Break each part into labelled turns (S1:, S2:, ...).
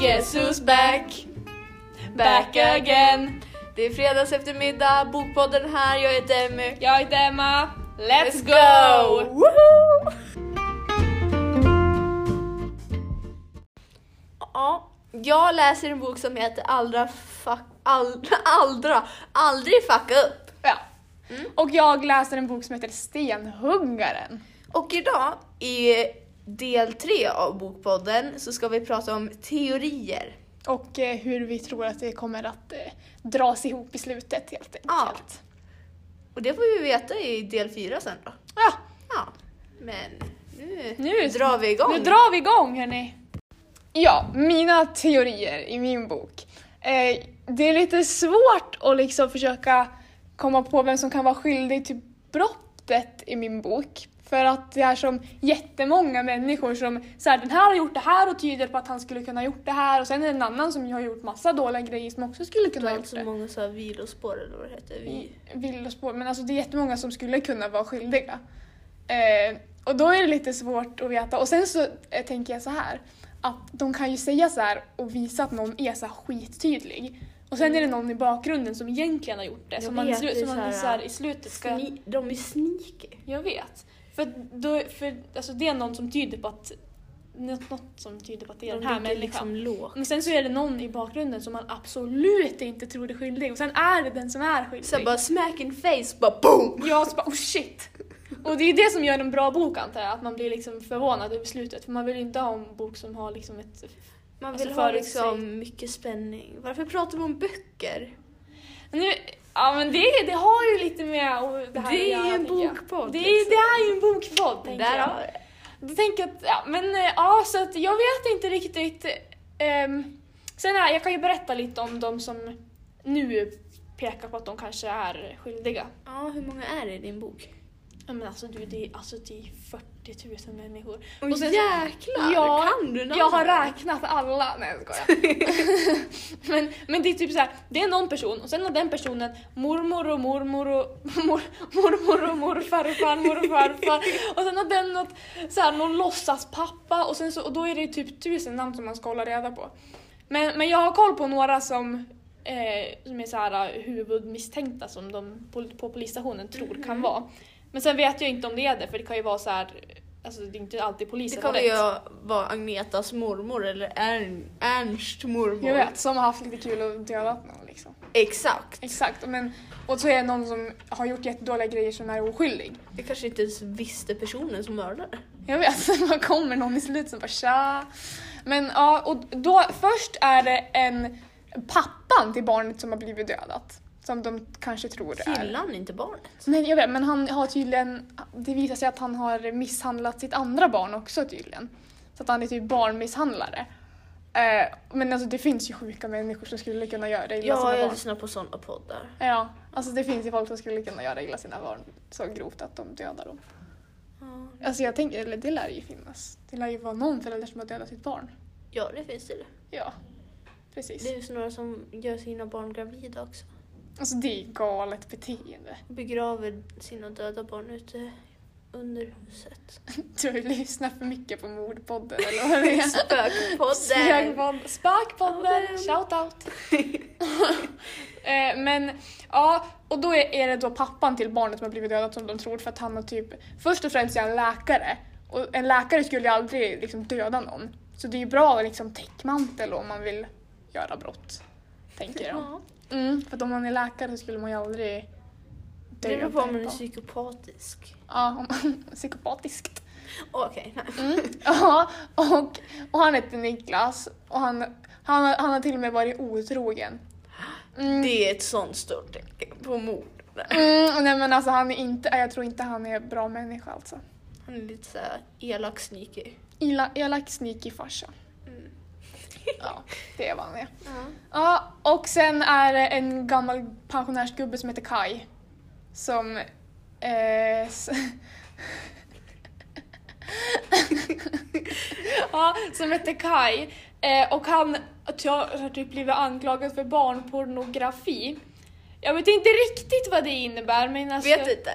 S1: Jesus back, back again. Det är fredags eftermiddag, Bokpodden här, jag heter Emmy.
S2: Jag heter Emma. Let's
S1: go!
S2: go!
S1: Woho! Ja, jag läser en bok som heter Aldra fuck, all, Aldra, aldrig fucka upp.
S2: Ja.
S1: Mm.
S2: Och jag läser en bok som heter Stenhuggaren.
S1: Och idag i del tre av Bokpodden så ska vi prata om teorier.
S2: Och eh, hur vi tror att det kommer att eh, dras ihop i slutet helt
S1: Ja.
S2: enkelt.
S1: Och det får vi veta i del fyra sen då.
S2: Ja.
S1: Ja, men nu,
S2: Nu-
S1: drar vi igång.
S2: Nu drar vi igång hörni! Ja, mina teorier i min bok. Eh, det är lite svårt att liksom försöka komma på vem som kan vara skyldig till brottet i min bok. För att det är som jättemånga människor som säger den här har gjort det här och tyder på att han skulle kunna ha gjort det här och sen är det en annan som har gjort massa dåliga grejer Typ som också skulle kunna ha gjort
S1: så
S2: det.
S1: många så här vilospår eller vad det heter. Vi.
S2: villospår, men alltså det är jättemånga som skulle kunna vara skyldiga. Eh, och då är det lite svårt att veta. Och sen så eh, tänker jag så här, att de kan ju säga så här och visa att någon är så här skittydlig. Och sen är det någon i bakgrunden som egentligen har gjort det,
S1: Mm. Jag
S2: som man,
S1: vet,
S2: slu-
S1: det är
S2: som
S1: så här,
S2: man så här, i slutet ska...
S1: Sni- de är sneaky.
S2: Jag vet. För, att då, för alltså det är någon som tyder på att... Något, något som tyder på att det är
S1: De
S2: den här
S1: ligger
S2: människan.
S1: liksom lågt.
S2: Men sen så är det någon i bakgrunden som man absolut inte tror är skyldig och sen är det den som är skyldig.
S1: Så bara smack in face, bara boom!
S2: Ja, så bara oh shit. Och det är det som gör en bra bok antar jag, att man blir liksom förvånad över slutet. För man vill ju inte ha en bok som har liksom ett...
S1: Man vill
S2: Alltså
S1: ha
S2: förutsäg-
S1: liksom mycket spänning. Varför pratar vi om böcker?
S2: Nu, ja men det, det har ju lite med och det här
S1: Det är
S2: jag,
S1: ju en
S2: tänker jag.
S1: bokpodd,
S2: Det, är-
S1: liksom.
S2: det är ju en bokpodd tänker
S1: Där
S2: jag.
S1: har vi det.
S2: Då tänker jag att, ja men eh, ja så att jag vet inte riktigt. Um, sen här, jag kan ju berätta lite om de som nu pekar på att de kanske är skyldiga.
S1: Ja, hur många är det i din bok?
S2: Ja men alltså du, det är, alltså, det är 40 000 människor.
S1: Och,
S2: sen så-
S1: jäklar!
S2: Ja,
S1: kan du namnen?
S2: Jag har räknat alla. Nej jag skojar. men, men det är typ så här, det är någon person och sen har den personen mormor och mormor och mor, mormor och morfar och farmor och farfar. Och sen har den något, så här, någon låtsaspappa och, sen så, och då är det typ tusen namn som man ska hålla reda på. Men, men jag har koll på några som, eh, som är så här, huvudmisstänkta som de på, på polisstationen tror
S1: Mhm.
S2: kan vara. Men sen vet jag inte om det är det för det kan ju vara så här, alltså det är inte alltid polisen
S1: Det
S2: har
S1: kommer
S2: rätt.
S1: ju vara Agnetas mormor eller Ern- Ernst mormor.
S2: Jag vet, som har haft lite kul och dödat någon liksom.
S1: Exakt.
S2: Exakt, men, och så är det någon som har gjort jättedåliga grejer som är oskyldig.
S1: Jag kanske inte ens visste personen som mördade.
S2: Jag vet, man kommer någon i slutet som bara tja. Men ja, och då först är det en pappan till barnet som har blivit dödat. Som de kanske tror det är. Mm.
S1: Killar han inte barnet?
S2: Nej, jag vet, men han har tydligen, det visar sig att han har misshandlat sitt andra barn också tydligen. Så att han är typ barnmisshandlare. Eh, men alltså det finns ju sjuka människor som skulle kunna göra det illa
S1: Ja,
S2: sina
S1: jag
S2: barn.
S1: lyssnar på sådana poddar.
S2: Ja, alltså det finns ju folk som skulle kunna göra illa sina barn så grovt att de dödar dem.
S1: Ja.
S2: Alltså jag tänker, eller det lär ju finnas. Det lär ju vara någon förälder som har dödat sitt barn.
S1: Ja, det finns det.
S2: Ja, precis.
S1: Det är ju några som gör sina barn gravida också.
S2: Alltså det är galet beteende.
S1: Begraver sina döda barn ute under huset.
S2: Du har ju lyssnat för mycket på mordpodden eller vad det är.
S1: Spökpodden!
S2: Spökpodden. Spökpodden, shout out. Eh, Men ja, och då är är det då pappan till barnet som har blivit dödat som de tror för att han har typ, först och främst är han läkare och en läkare skulle ju aldrig liksom döda någon. Så det är ju bra liksom täckmantel om man vill göra brott, tänker jag.
S1: Ja.
S2: Mm, för att om man är läkare så skulle man ju aldrig
S1: Det beror på om man är
S2: någon.
S1: psykopatisk.
S2: Ja, om man psykopatiskt.
S1: Okej, nej.
S2: Mm. Ja, och, och han heter Niklas och han, han, har- han har till och med varit otrogen. Mm.
S1: det är ett sånt stort tecken på mord.
S2: Mm, nej men alltså han är inte, jag tror inte han är bra människa alltså.
S1: Han är lite såhär elak sneaky.
S2: Ila, elak, sneaky farsa.
S1: Mm.
S2: Ja, det är vad han är.
S1: Ja.
S2: Ja, och sen är det en gammal pensionärsgubbe som heter Kai. Som... Eh, s- ja, som heter Kai. Eh, och han att jag har typ blivit anklagad för barnpornografi. Jag vet inte riktigt vad det innebär men alltså...
S1: Vet inte.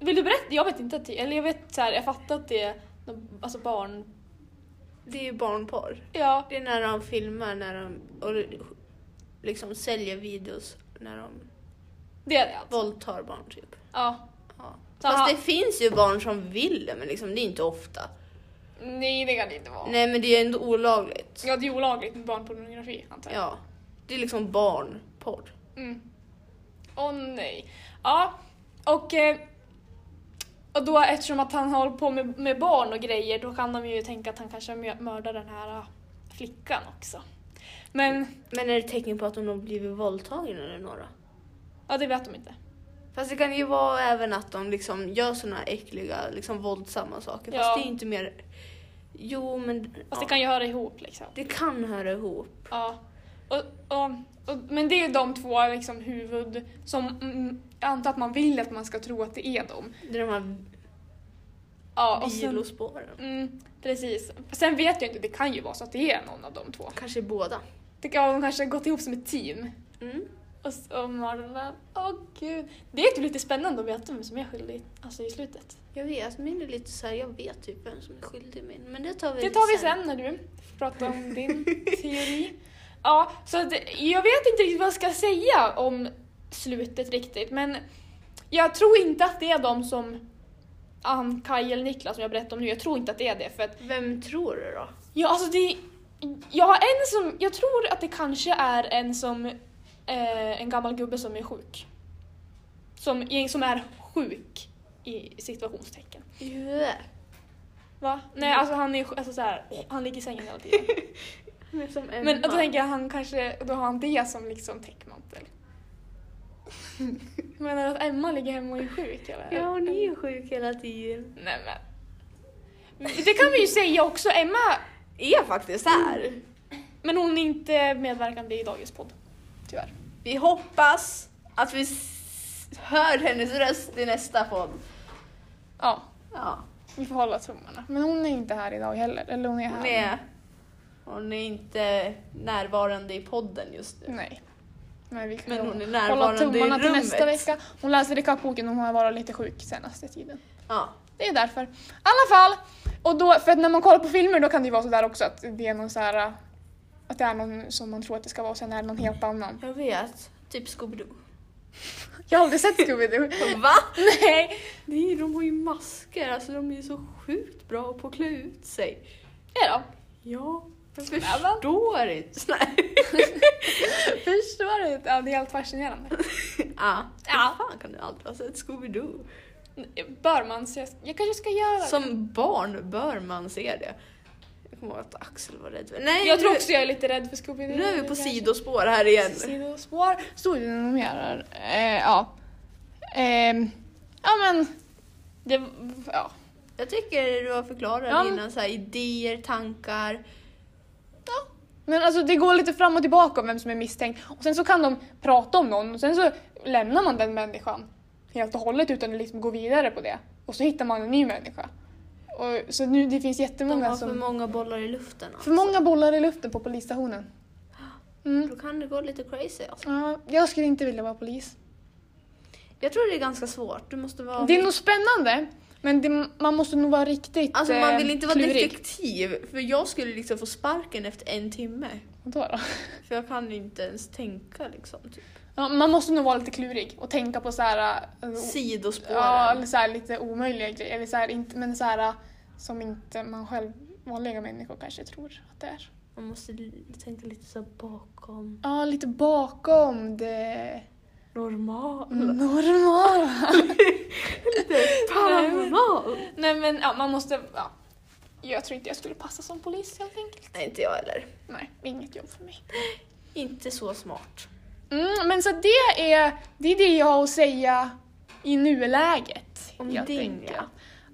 S2: Vill du berätta? Jag vet inte. Att det, eller jag vet så här, jag fattar att det är någon- alltså barn...
S1: Det är ju barnporr.
S2: Ja,
S1: Det är när de filmar när de, och liksom säljer videos när de
S2: det är det alltså.
S1: våldtar barn typ.
S2: Ja.
S1: Ja.
S2: Aha.
S1: Fast det finns ju barn som vill det men liksom, det är inte ofta.
S2: Nej, det kan det inte vara.
S1: Nej men det är ändå olagligt.
S2: Ja, det är olagligt med barnpornografi antar jag.
S1: Ja. Det är liksom barnporr.
S2: Mm. Åh nej. Ja, och, eh, och då eftersom att han håller på med, med barn och grejer då kan de ju tänka att han kanske mö- mördar den här ah, flickan också. Men
S1: Men är det tecken på att de har blivit våldtagna eller några?
S2: ja, det vet de inte.
S1: Fast det kan ju vara även att de liksom gör såna äckliga, liksom våldsamma saker.
S2: Ja.
S1: Fast det är inte mer... Jo men...
S2: Fast
S1: ja.
S2: det kan ju höra ihop liksom.
S1: det kan höra ihop.
S2: Ja. Och, och, och, men det är ju de två liksom, huvud som mm, jag antar att man vill att man ska tro att det är dem.
S1: Det är de här
S2: Ja, och sen,
S1: vilospåren.
S2: mm, precis. Sen vet jag inte, det kan ju vara så att det är någon av de två.
S1: Kanske båda.
S2: Det kan, de kanske har gått ihop som ett team.
S1: Mm.
S2: Och, s- och Marlon, åh gud. Det är typ lite spännande att veta vem som är skyldig alltså, i slutet.
S1: Jag vet, alltså, min är lite så här, jag vet typ vem som är skyldig min. Men det tar vi
S2: Det tar vi sen när du pratar om din teori. Ja, så att, jag vet inte riktigt vad jag ska säga om slutet riktigt men jag tror inte att det är de som Ann, Kaj eller Niklas som jag berättade om nu, jag tror inte att det är det för att
S1: Vem tror du då?
S2: Ja, alltså det... Jag har en som... Jag tror att det kanske är en som... Eh, en gammal gubbe som är sjuk. Som, som är sjuk i situationstecken.
S1: I huvudet.
S2: Va? Nej, alltså han är sj- alltså så här, han ligger i sängen hela tiden.
S1: Han är som en
S2: Men då
S1: man.
S2: tänker jag han kanske, då har han det som liksom täckmantel. Menar du att Emma ligger hemma och är sjuk eller?
S1: Ja, hon är ju sjuk hela tiden.
S2: Nej men. Det kan vi ju säga också, Emma,
S1: Är faktiskt här.
S2: men hon är inte medverkande i dagens podd. Tyvärr.
S1: Vi hoppas att vi s- hör hennes röst i nästa podd.
S2: Ja,
S1: Ja,
S2: vi får hålla tummarna. Men hon är inte här idag heller, eller hon är här.
S1: hon är, hon är inte närvarande i podden just nu.
S2: Nej. Men vi kan
S1: Men hon är
S2: hålla
S1: närvarande i
S2: tummarna till
S1: rummet.
S2: nästa vecka. Hon läser i kappboken, hon har varit lite sjuk senaste tiden.
S1: Ja.
S2: Det är därför. I alla fall! Och då, för att när man kollar på filmer då kan det ju vara sådär också att det är någon så här att det är någon som man tror att det ska vara och sen är det någon helt annan.
S1: Jag vet. Typ Scooby-Doo.
S2: Jag har aldrig sett Scooby-Doo.
S1: Va?
S2: Nej!
S1: Nej, de har ju masker. Alltså de är ju så sjukt bra på att klä ut sig.
S2: Ja då.
S1: Ja, jag
S2: Nämen.
S1: förstår inte. Nej.
S2: Förstår du? Ja, det är helt fascinerande.
S1: Ja.
S2: Ja.
S1: Hur fan kan du aldrig ha sett Scooby-Doo?
S2: Bör man se? Jag kanske ska göra det.
S1: Som barn bör man se det. Jag kommer ihåg att Axel var rädd för Nej,
S2: Jag
S1: nu-
S2: tror också jag är lite rädd för Scooby-Doo.
S1: Nu är vi på
S2: Kanske.
S1: sidospår här igen.
S2: Sidospår. Storyn och mer. där. Eh, ja. Ehm, ja men. Det, ja.
S1: Jag tycker du har förklarat
S2: Ja.
S1: dina så här idéer, tankar.
S2: ja. Men alltså det går lite fram och tillbaka om vem som är misstänkt. Och sen så kan de prata om någon och sen så lämnar man den människan helt och hållet utan att liksom gå vidare på det. Och så hittar man en ny människa. Och, så nu det finns
S1: De
S2: jättemånga
S1: har
S2: som...
S1: för många bollar i luften.
S2: för många bollar i luften på polisstationen. Mm.
S1: alltså. Då kan det gå lite crazy. Alltså.
S2: Ja, jag skulle inte vilja vara polis.
S1: Jag tror det är ganska svårt. Du måste vara...
S2: Det är nog spännande, men det, man måste nog vara riktigt
S1: Alltså man vill inte vara
S2: klurig.
S1: detektiv. För jag skulle liksom få sparken efter en timme.
S2: Vadå då?
S1: För jag kan inte ens tänka liksom. Typ.
S2: Ja, man måste nog vara lite klurig och tänka på så här, äh, o-
S1: Sidospåren.
S2: ja, eller så här lite omöjliga grejer, eller så här, inte, men så här, äh, som inte man själv, vanliga människor kanske tror att det är.
S1: Man måste l- tänka lite så här bakom.
S2: Ja, lite bakom det
S1: Normal.
S2: Mm. normala.
S1: Paranormal.
S2: Nej men ja, man måste, ja. Jag tror inte jag skulle passa som polis helt enkelt.
S1: Nej, inte jag heller.
S2: Nej, inget jobb för mig.
S1: Inte så smart.
S2: Mm, men så det är, det är det jag har att säga i nuläget.
S1: Om
S2: helt
S1: din,
S2: enkelt.
S1: ja.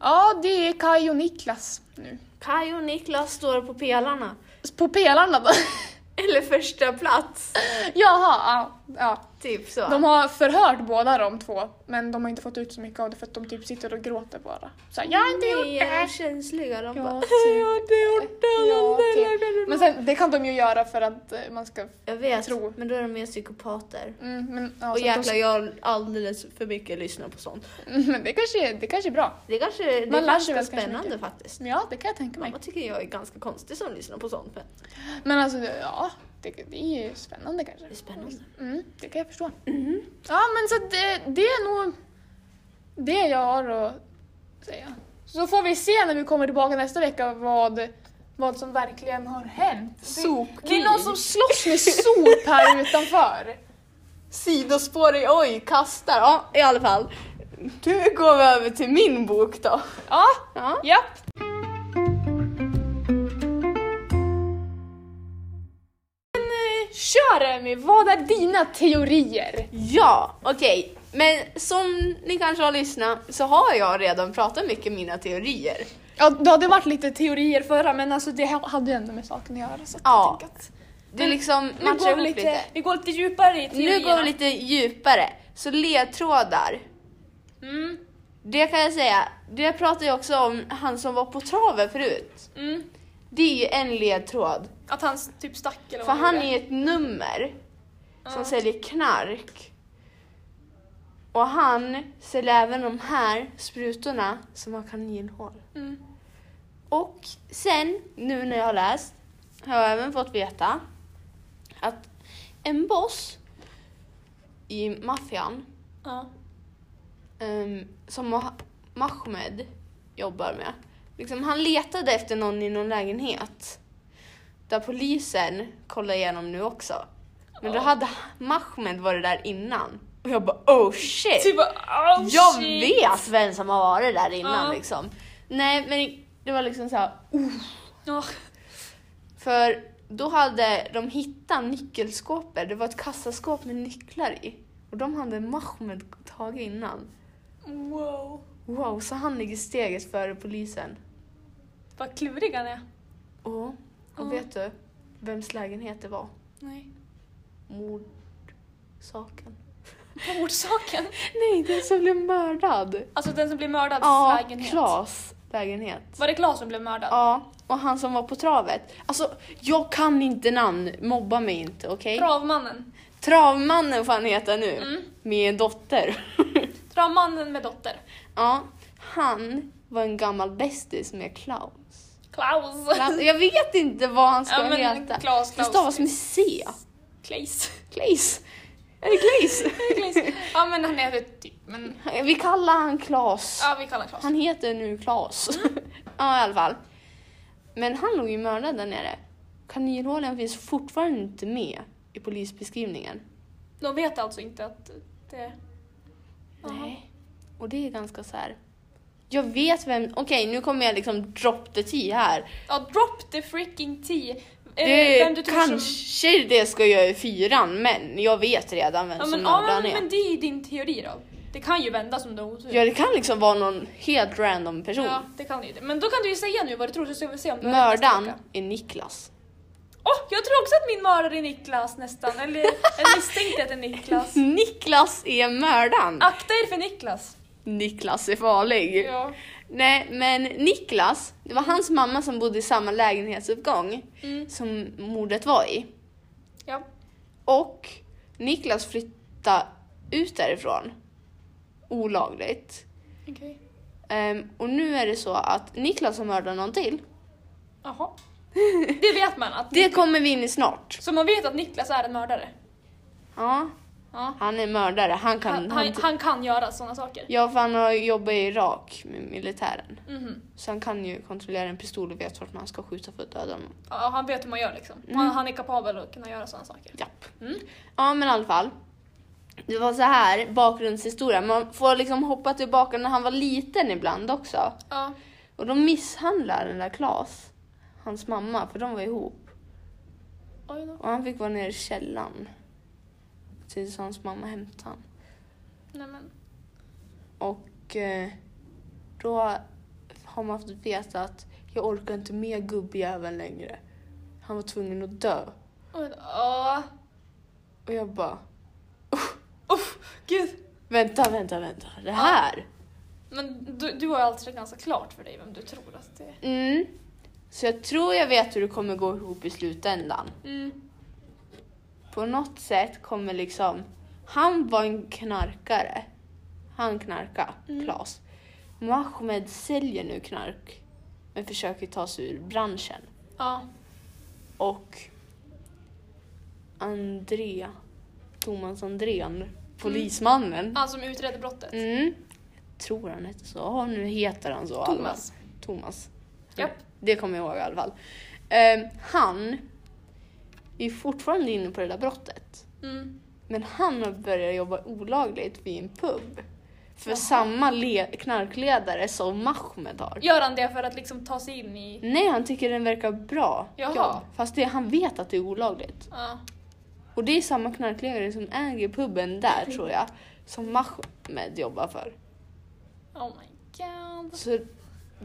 S2: Ja, det är Kaj och Niklas nu.
S1: Kaj och Niklas står på pelarna.
S2: På pelarna då?
S1: Eller första plats.
S2: Jaha, ja. ja.
S1: Typ så.
S2: De har förhört båda de två, men de har inte fått ut så mycket av det för att de typ sitter och gråter bara. Så här, jag har inte gjort
S1: Nej,
S2: det
S1: är
S2: här!
S1: känsliga. De
S2: Ja,
S1: bara,
S2: typ.
S1: jag har inte gjort det.
S2: Ja,
S1: lalala,
S2: typ.
S1: lalala.
S2: Men sen, det kan de ju göra för att eh, man ska...
S1: jag vet,
S2: tror-
S1: men då är de mer psykopater.
S2: Mm, men, ja,
S1: och
S2: så att
S1: jäklar, jag har alldeles för mycket lyssnat på sånt.
S2: De, Mm, men det kanske, är- det kanske är bra.
S1: Det kanske det
S2: Man
S1: är
S2: lär
S1: ganska
S2: sig väl kanske
S1: spännande
S2: mycket.
S1: faktiskt.
S2: Ja, det kan jag tänka mig.
S1: Mamma tycker jag är ganska konstig som lyssnar på sånt, men
S2: Men alltså, det- ja. Det, det är ju spännande kanske.
S1: det är spännande. Mm-hmm.
S2: Mm, det kan jag förstå. Ja, men så att det, det är nog det jag har att säga. Så får vi se när vi kommer tillbaka nästa vecka vad, vad som verkligen har hänt. Det, det är någon som slåss med sop här utanför.
S1: Sidospår i oj, kastar. Ja, i alla fall. Nu går vi över till min bok då.
S2: Ja,
S1: Ja.
S2: japp. Men eh, kör Emmy, vad är dina teorier?
S1: Ja, okej. Men som ni kanske har lyssnat så har jag redan pratat mycket om mina teorier.
S2: Ja, det hade varit lite teorier förra men alltså det hade ju ändå med saken att göra. Så att
S1: Ja.
S2: jag tänker att...
S1: Det är liksom
S2: Nu
S1: matchar
S2: går,
S1: ihop
S2: vi
S1: lite.
S2: lite, vi går lite djupare i teorierna.
S1: Nu går vi lite djupare. Så ledtrådar.
S2: Mm,
S1: Det kan jag säga. Det pratade jag också om han som var på traven förut.
S2: mm.
S1: Det är ju en ledtråd.
S2: Att han typ stack eller
S1: För
S2: vad
S1: han
S2: gjorde.
S1: är ett nummer som
S2: Ja.
S1: säljer knark. Och han säljer även de här sprutorna som har kaninhål.
S2: Mm.
S1: Och sen, nu när jag har läst, har jag även fått veta att en boss i maffian
S2: Ja.
S1: ehm, som Mah- Mahmed jobbar med. Liksom, han letade efter någon i någon lägenhet. Där polisen kollar igenom nu också. Men då
S2: Ja.
S1: hade Mahmed varit där innan. Och jag bara oh shit!
S2: Typ bara, oh,
S1: jag
S2: shit.
S1: vet vem som har varit där innan
S2: Ja.
S1: liksom. Nej men det var liksom såhär,
S2: Ja.
S1: för då hade de hittat nyckelskåpet. Det var ett kassaskåp med nycklar i. Och de hade Mahmed tagit innan.
S2: Wow.
S1: Wow, så han ligger steget före polisen.
S2: Vad klurig han är.
S1: Ja. Och
S2: Ja.
S1: vet du vems lägenhet det var?
S2: Nej.
S1: Mordsaken.
S2: På orsaken.
S1: Nej, den som blev mördad.
S2: Alltså den som blev mördad
S1: Ja,
S2: lägenhet.
S1: Klas lägenhet.
S2: Var det Klas som blev mördad?
S1: Ja, och han som var på travet. Alltså, jag kan inte namn. Mobba mig inte, okej?
S2: Travmannen.
S1: Travmannen får han heta nu.
S2: Mm.
S1: Med en dotter.
S2: Travmannen med dotter.
S1: ja, han var en gammal bästis med Klaus.
S2: Klaus.
S1: Klaus- Jag vet inte vad han ska
S2: Ja, men
S1: heta.
S2: Klaus,
S1: Det
S2: Klaus.
S1: stavas med C.
S2: Klaus.
S1: Claes. Är det Claes?
S2: Klaus. Ja men han heter typ, men
S1: Vi kallar han Klas.
S2: ja Mm. vi kallar Klas.
S1: Han heter nu Klas. ja, i alla fall. Men han låg ju mördad där nere. Kaninhålen finns fortfarande inte med i polisbeskrivningen.
S2: De vet alltså inte att det... Jaha.
S1: Nej. Och det är ganska så här. Jag vet vem... Okej, nu kommer jag liksom drop the tea här.
S2: Ja, drop the freaking tea. Eh,
S1: Det
S2: vem du tror som-
S1: kanske det ska jag göra i fyran, men jag vet redan vem
S2: Ja
S1: som
S2: men,
S1: mördaren
S2: ja, men,
S1: är.
S2: men det är ju din teori då. Det kan ju vända som du har otur.
S1: Ja, det kan liksom vara någon helt random person.
S2: Ja, det kan ju det. Men då kan du ju säga nu vad du tror så ska vi se om du har rätt nästa
S1: Mördaren
S2: vecka.
S1: är Niklas.
S2: Åh, jag tror också att min mördare är Niklas nästan. Eller jag misstänkte att det är Niklas.
S1: Niklas är mördaren.
S2: Akta er för Niklas.
S1: Niklas är farlig.
S2: Ja.
S1: Nej, men Niklas, det var hans mamma som bodde i samma lägenhetsuppgång
S2: Mm.
S1: som mordet var i.
S2: ja.
S1: Och Niklas flyttade ut därifrån olagligt.
S2: Okej.
S1: Ehm, och nu är det så att Niklas har mördat någon till.
S2: Jaha. Det vet man att...
S1: Det kommer vi in i snart.
S2: Så man vet att Niklas är en mördare?
S1: Ja,
S2: Ja.
S1: han är mördare. Han kan...
S2: Han, han, han kan göra sådana saker.
S1: Ja, för han har jobbat i Irak med militären.
S2: Mhm.
S1: Så han kan ju kontrollera en pistol och vet vart man ska skjuta för att döda honom.
S2: Ja, han vet hur man gör liksom.
S1: Mm.
S2: Han, han är kapabel att kunna göra sådana saker.
S1: Japp.
S2: Mm.
S1: Ja men i alla fall. Det var så här bakgrundshistoria. Man får liksom hoppa tillbaka när han var liten ibland också.
S2: Ja.
S1: Och de misshandlar den där Klas, hans mamma, för de var ihop.
S2: Oj då.
S1: Och han fick vara nere i källaren. Tills hans mamma hämtade han.
S2: Nej men.
S1: Och eh, då har man fått veta att jag orkar inte med gubbjäveln längre. Han var tvungen att dö.
S2: Oj då. Ja.
S1: Och jag bara,
S2: Gud.
S1: Vänta, vänta, vänta. Det här.
S2: Men du, du har ju alltid ganska klart för dig vem du tror att det är.
S1: Mm. Så jag tror jag vet hur det kommer gå ihop i slutändan.
S2: Mm.
S1: På något sätt kommer liksom... Han var en knarkare. Han knarka,
S2: Mm.
S1: Klas. Mohammed säljer nu knark men försöker ta sig ur branschen.
S2: Ja.
S1: Och Andrea, Thomas Andrean, polismannen.
S2: Han som utredde brottet.
S1: Mm. Jag tror han hette så. Ja, nu heter han så. i alla fall.
S2: Thomas.
S1: Thomas. Mm.
S2: Japp.
S1: Det kommer jag ihåg i alla fall. Ehm, han är fortfarande inne på det där brottet.
S2: Mm.
S1: Men han har börjat jobba olagligt vid en pub. För
S2: Jaha.
S1: samma le- knarkledare som Mahmed har.
S2: Gör han det för att liksom ta sig in i...
S1: Nej, han tycker den verkar bra.
S2: Jaha.
S1: Fast det, han vet att det är olagligt.
S2: Ja.
S1: Och det är samma knarkledare som äger puben där tror jag. Som Mahmed jobbar för.
S2: Oh my god.
S1: Så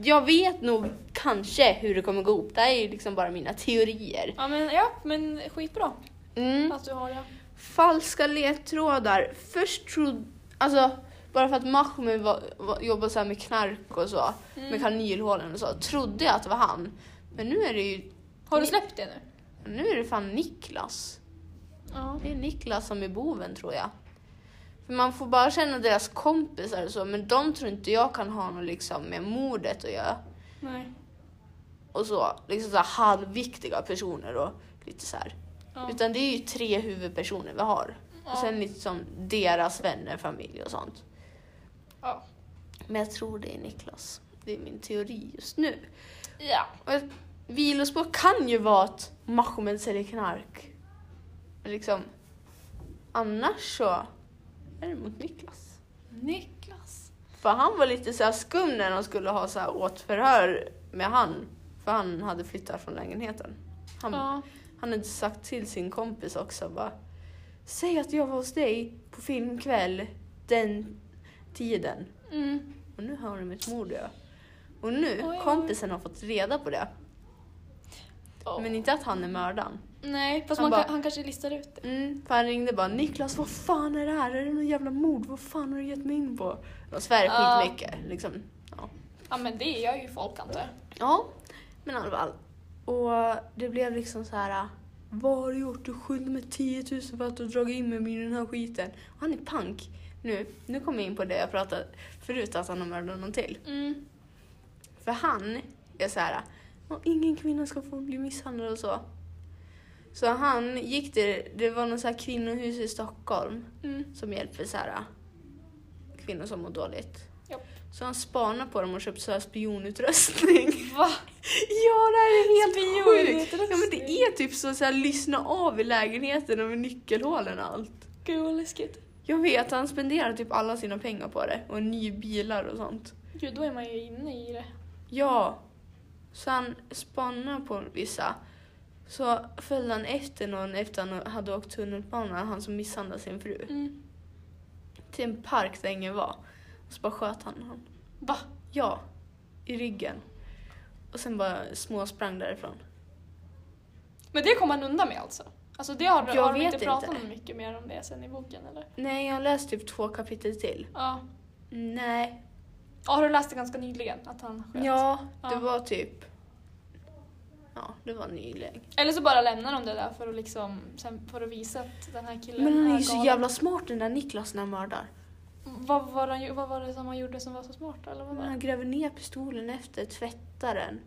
S1: jag vet nog kanske hur det kommer gå ihop. Det här är ju liksom bara mina teorier.
S2: Ja men, ja, men skitbra
S1: Mm.
S2: att du har det.
S1: Falska ledtrådar. Först trodde... Alltså, bara för att Mahmoud var, var, jobbade så här med knark och så, med
S2: Mm.
S1: kanylhålen och så, trodde jag att det var han. Men nu är det ju...
S2: Har du släppt det nu?
S1: Nu är det fan Niklas.
S2: Ja.
S1: Det är Niklas som är boven tror jag. För man får bara känna deras kompisar och så, men de tror inte jag kan ha något liksom med mordet att göra.
S2: Nej.
S1: och så, liksom så här halvviktiga personer och lite så här.
S2: Ja.
S1: Utan det är ju tre huvudpersoner vi har. Och sen liksom deras vänner, familj och sånt.
S2: Ja.
S1: Men jag tror det är Niklas. Det är min teori just nu.
S2: ja.
S1: Och ett vilospår kan ju vara att Mahomet säljer knark. Men liksom, annars så är det mot Niklas.
S2: Niklas.
S1: För han var lite så här skum när de skulle ha så här åtförhör med han. För han hade flyttat från lägenheten. Han,
S2: Ja.
S1: Han hade sagt till sin kompis också bara Säg att jag var hos dig på filmkväll den tiden.
S2: Mm.
S1: Och nu har de ett mord ja. Och nu,
S2: Oj, oj.
S1: kompisen har fått reda på det.
S2: Oh.
S1: Men inte att han är mördaren.
S2: Nej, fast
S1: Han
S2: han,
S1: bara-
S2: kan, han kanske listar ut det.
S1: Mm, för han ringde bara Niklas vad fan är det här? Är det någon jävla mord? Vad fan har du gett mig in på? De svär
S2: Ja.
S1: skitmycket liksom.
S2: Ja men det gör ju folk antar jag.
S1: Ja, men i alla fall. Och det blev liksom så här. Vad har du gjort? Du skyller mig 10 000 för att du har dragit in mig i den här skiten. Och han är pank. Nu, nu kommer jag in på det jag pratade förut, att han har mördat någon till.
S2: Mm.
S1: För han är så här. "Åh, Ingen kvinna ska få bli misshandlad och så. Så han gick till, det var något så här kvinnohus i Stockholm
S2: Mm.
S1: som hjälper så här, kvinnor som mår dåligt.
S2: Japp.
S1: Så han spanar på dem och köper så här spionutrustning.
S2: Va?
S1: Ja, det här är helt sjukt!
S2: Spionutrustning.
S1: Ja, men det är typ så, så här, lyssna av i lägenheten och med nyckelhålen och allt.
S2: Gud vad läskigt.
S1: Jag vet, han spenderar typ alla sina pengar på det och nya bilar och sånt.
S2: Gud, då är man ju inne i det.
S1: Ja, så han spannar på vissa. Så följde han efter någon efter han hade åkt tunnelbana, han som misshandlade sin fru,
S2: Mm.
S1: till en park där ingen var. Och så bara sköt han honom.
S2: Va?
S1: Ja, i ryggen. Och sen bara småsprang därifrån.
S2: Men det kom han undan med alltså? Alltså det har, du-
S1: Jag
S2: har de
S1: vet
S2: inte pratat
S1: inte.
S2: mycket mer om det sen i boken eller?
S1: Nej, jag har läst typ två kapitel till.
S2: Ja.
S1: Nej.
S2: Ja, har du läst det ganska nyligen? Att han sköt?
S1: Ja, det
S2: Ja.
S1: var typ... Ja, det var nyligen.
S2: Eller så bara lämnar de det där för att liksom, sen för att visa att den här killen
S1: Men han är ju så
S2: galen.
S1: jävla smart den där Niklas när han mördar.
S2: Vad var, han, ju- vad var det som han gjorde som var så smart? Eller vad var det?
S1: Han gräver ner pistolen efter tvättaren.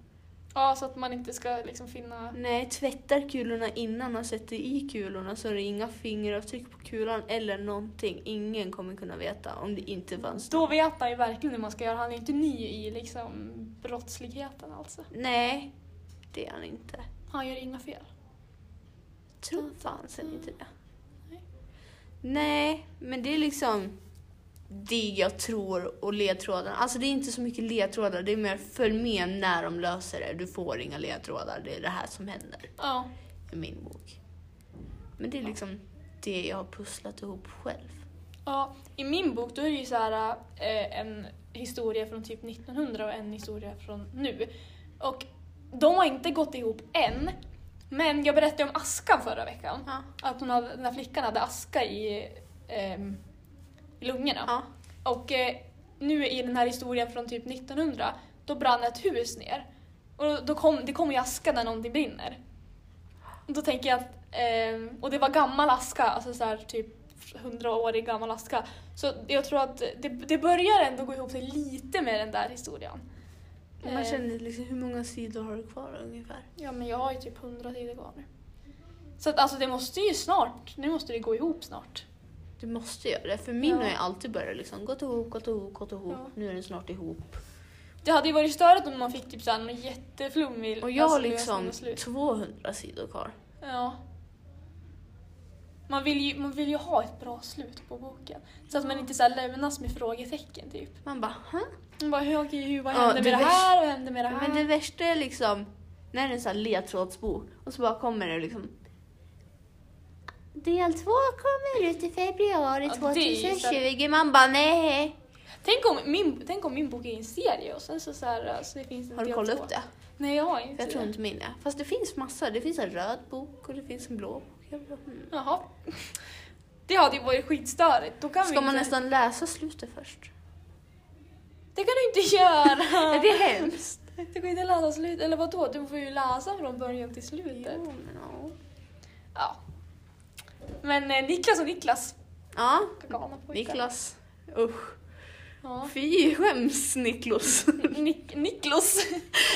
S2: Ja, så att man inte ska liksom finna...
S1: Nej, tvättar kulorna innan han sätter i kulorna så är det inga fingeravtryck på kulan eller någonting. Ingen kommer kunna veta om det inte fanns
S2: Då
S1: någon.
S2: vet han ju verkligen hur man ska göra. Han är ju inte ny i liksom brottsligheten alltså.
S1: Nej, det är han inte.
S2: Han gör inga fel.
S1: Tror fan sen inte det.
S2: Nej.
S1: Nej, men det är liksom det jag tror och ledtrådarna. Alltså det är inte så mycket ledtrådar, det är mer följ med när de löser det. Du får inga ledtrådar, det är det här som händer
S2: Ja.
S1: i min bok. Men det är liksom det jag har pusslat ihop själv.
S2: Ja, i min bok då är det ju så här eh, en historia från typ 1900 och en historia från nu. Och de har inte gått ihop än. Men jag berättade om askan förra veckan.
S1: Ja.
S2: Att hon hade, den här flickan hade aska i, ehm, i lungorna.
S1: Ja.
S2: Och eh, nu i den här historien från typ 1900, då brann ett hus ner. Och då kom, det kommer ju aska när någonting brinner. Och då tänker jag att, ehm, och det var gammal aska, alltså så här typ 100-årig gammal aska. Så jag tror att det, det börjar ändå gå ihop sig lite med den där historien.
S1: Och Man känner liksom, hur många sidor har du kvar ungefär?
S2: Ja men jag har ju typ 100 sidor kvar nu. Så att alltså det måste ju snart, nu måste det gå ihop snart.
S1: Du måste göra det, för min
S2: Ja.
S1: har ju alltid börjat liksom gått ihop, gått ihop, gått ihop.
S2: Ja.
S1: Nu är den snart ihop.
S2: Det hade ju varit störigt om man fick typ såhär någon jätteflummig
S1: Och jag har
S2: lösning
S1: liksom
S2: och slut.
S1: 200 sidor kvar.
S2: Ja. Man vill, ju, man vill ju ha ett bra slut på boken. Så att man inte så här lämnas med frågetecken typ.
S1: Man bara, "Hä?"
S2: Man bara, hur, okej, hur, vad
S1: Ja,
S2: hände
S1: det
S2: med det
S1: värsta-
S2: här? Vad hände med det här?
S1: Men det värsta är liksom när det är en sån här ledtrådsbok och så bara kommer det liksom Del två kommer ut i februari
S2: Ja, det är ju
S1: 2020. Man bara nej.
S2: tänk, om min, tänk om min bok är en serie och sen så, så, här, så det finns en
S1: Har du
S2: del
S1: kollat
S2: två.
S1: upp det?
S2: Nej jag har inte
S1: Jag tror inte min det. Fast det finns massor. Det finns en röd bok och det finns en blå bok. Jag bara, hmm.
S2: Jaha. Det hade ju varit skitstörigt. Då kan vi
S1: Ska
S2: inte...
S1: man nästan läsa slutet först?
S2: Det kan du inte göra!
S1: Är det hemskt?
S2: Du kan inte läsa slut, eller vadå? Du får ju läsa från början till slutet.
S1: Jo, men ja.
S2: Ja. Men eh, Niklas och Niklas.
S1: Ja,
S2: Galna pojkar.
S1: Niklas. Usch.
S2: Ja.
S1: Fy, skäms Niklas.
S2: Nik- Niklos.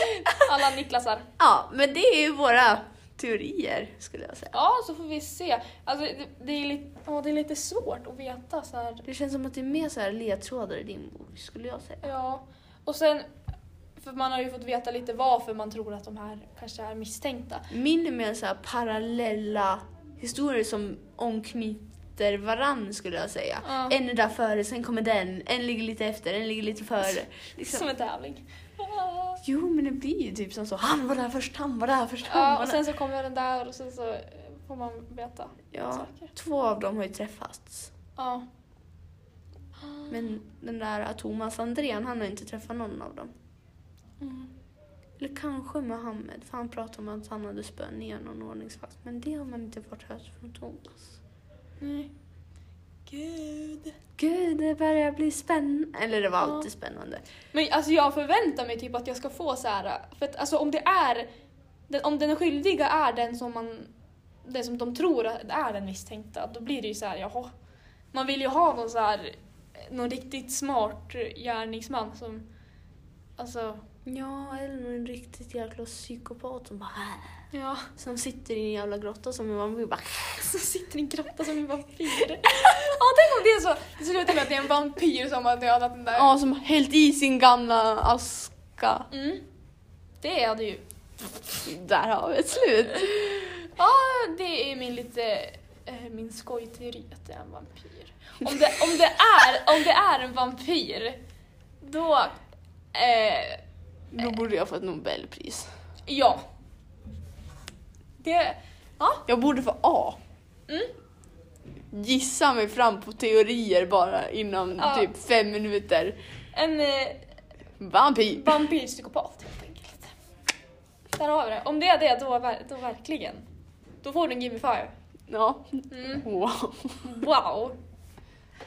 S2: Alla Niklasar.
S1: Ja, men det är ju våra teorier skulle jag säga.
S2: Ja, så får vi se. Alltså, det, det, är lite, ja, det är lite svårt att veta så här.
S1: Det känns som att det är mer så här ledtrådar i din bok skulle jag säga.
S2: Ja. Och sen, för man har ju fått veta lite varför man tror att de här kanske är misstänkta.
S1: Min är mer så här parallella historier som omknyter varann skulle jag säga.
S2: Ja.
S1: En är där före, sen kommer den. En ligger lite efter, en ligger lite före. Liksom.
S2: Som en tävling. Ah.
S1: Jo, men det blir ju typ som så. Han var där först, han var där först, han
S2: Ja,
S1: var
S2: och
S1: där.
S2: sen så kommer den där och sen så eh, får man veta
S1: Ja,
S2: saker.
S1: två av dem har ju träffats.
S2: Ja.
S1: Men den där Thomas Andrén, han har inte träffat någon av dem.
S2: Mm.
S1: Eller kanske Mohammed, för han pratade om att han hade spön ner någon ordningsvakt. Men det har man inte fått höra från Thomas.
S2: Nej. Gud.
S1: Gud, det börjar bli spännande. Eller det var
S2: Ja.
S1: alltid spännande.
S2: Men alltså jag förväntar mig typ att jag ska få så här. För att alltså om det är... Den, om den skyldiga är den som man... Den som de tror att är den misstänkta, då blir det ju så här, jaha. Man vill ju ha någon så här... Någon riktigt smart gärningsman som... Alltså...
S1: Ja, eller någon riktigt jäkla psykopat som bara... "Äh."
S2: Ja.
S1: Som sitter i en jävla grotta som en vampyr bara... "Äh."
S2: Som sitter i en grotta som en vampyr. ja, tänk om det är så. Det slutar med att det är en vampyr som har dödat den där.
S1: Ja, som har hällt i sin gamla aska.
S2: Mm. Det hade ju
S1: Där har vi ett slut.
S2: Ja, det är min lite eh, min skojteori att det är en vampyr. Om det, om det, är, om det är en vampyr, då... Eh,
S1: Då borde jag få ett Nobelpris.
S2: ja. Det... Ja.
S1: Jag borde få A.
S2: Mm.
S1: Gissa mig fram på teorier bara inom
S2: Ja.
S1: typ fem minuter.
S2: En eh,
S1: Vampyr!
S2: vampyrpsykopat, helt enkelt. Där har vi det. Om det är det, då, ver- då verkligen. Då får du en Gimme Five.
S1: Ja.
S2: Mm.
S1: Wow.
S2: Wow.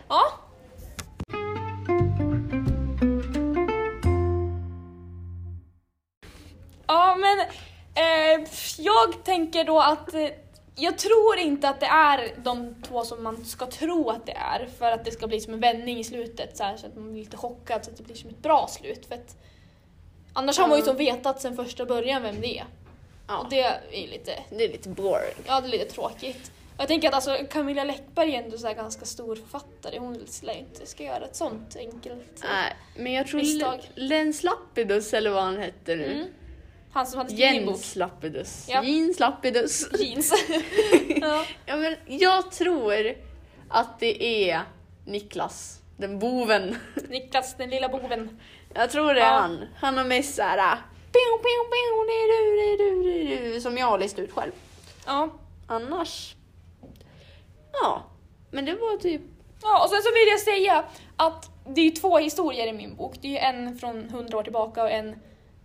S2: Ja. Ja, men eh, jag tänker då att eh, jag tror inte att det är de två som man ska tro att det är för att det ska bli som en vändning i slutet så, här, så att man blir lite chockad så att det blir som ett bra slut. För att, annars har man ju
S1: Ja.
S2: som vetat sedan första början vem det är.
S1: Ja.
S2: Och det är lite
S1: Det är lite boring.
S2: Ja, det är lite tråkigt. Jag tänker att alltså, Camilla Läckberg är ändå så här ganska stor författare. Hon lär ju inte ska göra ett sånt enkelt eh,
S1: Nej, men jag tror
S2: Misstag.
S1: L- Lens Lapidus eller vad han hette nu.
S2: Mm. Han som hade skrivit en bok.
S1: Jens Lapidus.
S2: Ja.
S1: Jens Lapidus.
S2: Jeans. ja.
S1: Ja, men jag tror att det är Niklas, den boven.
S2: Niklas, den lilla boven.
S1: Jag tror det är
S2: Ja.
S1: han. Han har mest såhär... Pew, pew, pew, det är du, det är du, det är du, som jag har läst ut själv.
S2: Ja.
S1: Annars... Ja, men det var typ...
S2: ja, och sen så vill jag säga att det är ju två historier i min bok. Det är ju en från hundra år tillbaka och en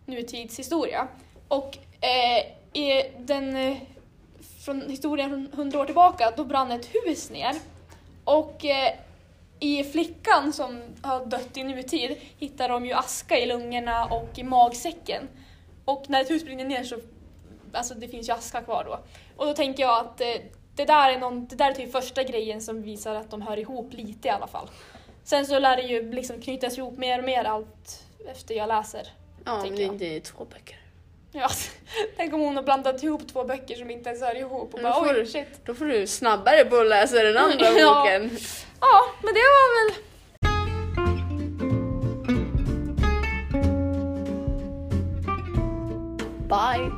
S2: nutidshistoria. Och eh, i den eh, från historien från hundra år tillbaka, då brann ett hus ner. Och eh, i flickan som har dött i nutid hittar de ju aska i lungorna och i magsäcken. Och när ett hus brinner ner så alltså det finns ju aska kvar då. Och då tänker jag att eh, det där är, någon, det där är typ första grejen som visar att de hör ihop lite i alla fall. Sen så lär det ju liksom knytas ihop mer och mer allt efter jag läser.
S1: Ja, men
S2: tänker
S1: det
S2: jag.
S1: är inte två böcker.
S2: Ja, tänk om hon har blandat ihop två böcker som inte ens hör ihop och
S1: Men
S2: bara
S1: får
S2: oj
S1: du-
S2: shit.
S1: Då får du snabbare på att läsa den andra
S2: Ja.
S1: boken.
S2: Ja, men det var väl...
S1: Bye!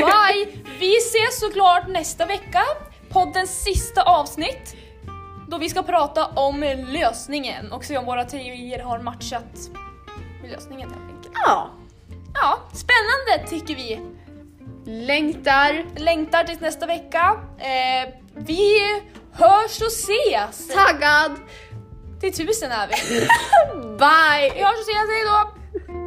S2: Bye! Vi ses såklart nästa vecka. Poddens sista avsnitt. Då vi ska prata om lösningen och se om våra teorier har matchat med lösningen helt enkelt.
S1: Ja.
S2: Ja, spännande tycker vi.
S1: Längtar.
S2: Längtar tills nästa vecka. Eh, vi hörs och ses!
S1: Taggad.
S2: Till tusen är vi.
S1: Bye!
S2: Vi hörs och ses, hejdå!